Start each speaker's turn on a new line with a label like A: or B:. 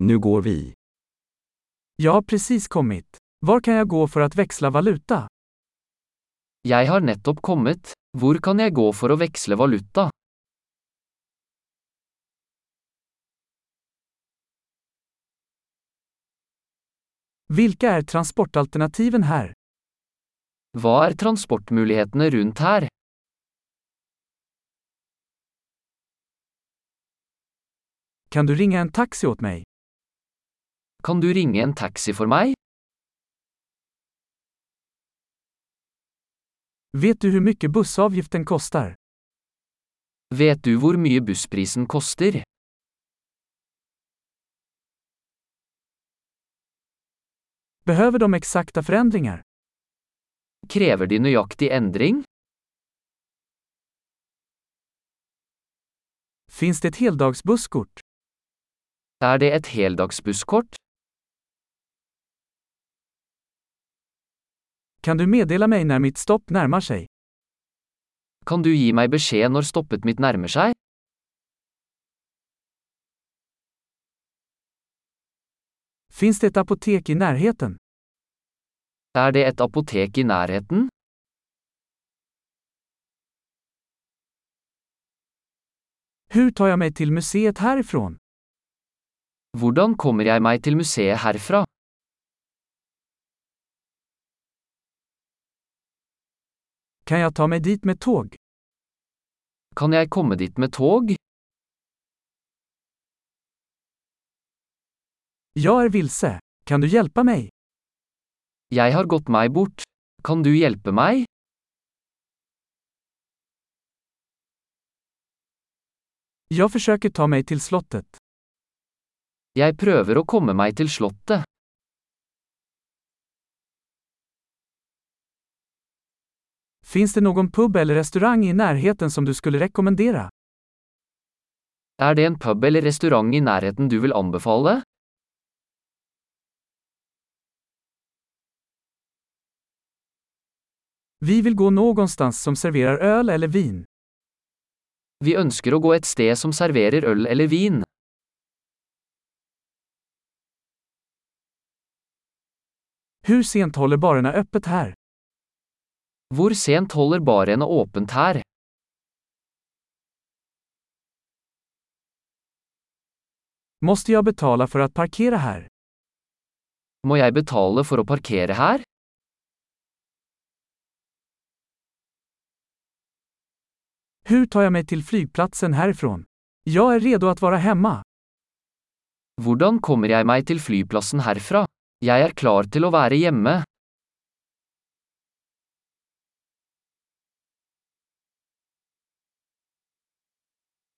A: Nu går vi.
B: Jag har precis kommit. Var kan jag gå för att växla valuta?
C: Jeg har nettopp kommet. Hvor kan jeg gå for å veksle valuta?
B: Vilka är transportalternativen här?
C: Hva er transportmulighetene rundt her?
B: Kan du ringa en taxi åt mig?
C: Kan du ringe en taxi for meg?
B: Vet du hur mycket bussavgiften kostar?
C: Vet du hvor mye bussprisen koster?
B: Behöver de exakta förändringar?
C: Krever de nøyaktig endring?
B: Finns det ett heldagsbusskort?
C: Er det et heldagsbusskort?
B: Kan du meddela mig när mitt stopp närmar sig?
C: Kan du gi meg beskjed når stoppet mitt nærmer seg?
B: Finns det ett apotek i närheten?
C: Er det et apotek i nærheten?
B: Hur tar jag mig till museet härifrån?
C: Hvordan kommer jeg meg til museet herfra?
B: Kan jag ta mig dit med tåg?
C: Kan jeg komme dit med tog?
B: Jag är vilse. Kan du hjälpa mig?
C: Jeg har gått meg bort. Kan du hjelpe meg?
B: Jag försöker ta mig till slottet.
C: Jeg prøver å komme meg til slottet.
B: Finns det någon pub eller restaurang i närheten som du skulle rekommendera?
C: Er det en pub eller restaurant i nærheten du vil anbefale?
B: Vi vill gå någonstans som serverar öl eller vin.
C: Vi ønsker å gå et sted som serverer øl eller vin.
B: Hur sent håller barerna öppet här?
C: Hvor sent holder barene åpent her?
B: Måste jag betala för att parkera här?
C: Må jeg betale for å parkere her?
B: Hur tar jag mig till flygplatsen härifrån? Jag är redo att vara hemma.
C: Hvordan kommer jeg meg til flyplassen herfra? Jeg er klar til å være hjemme.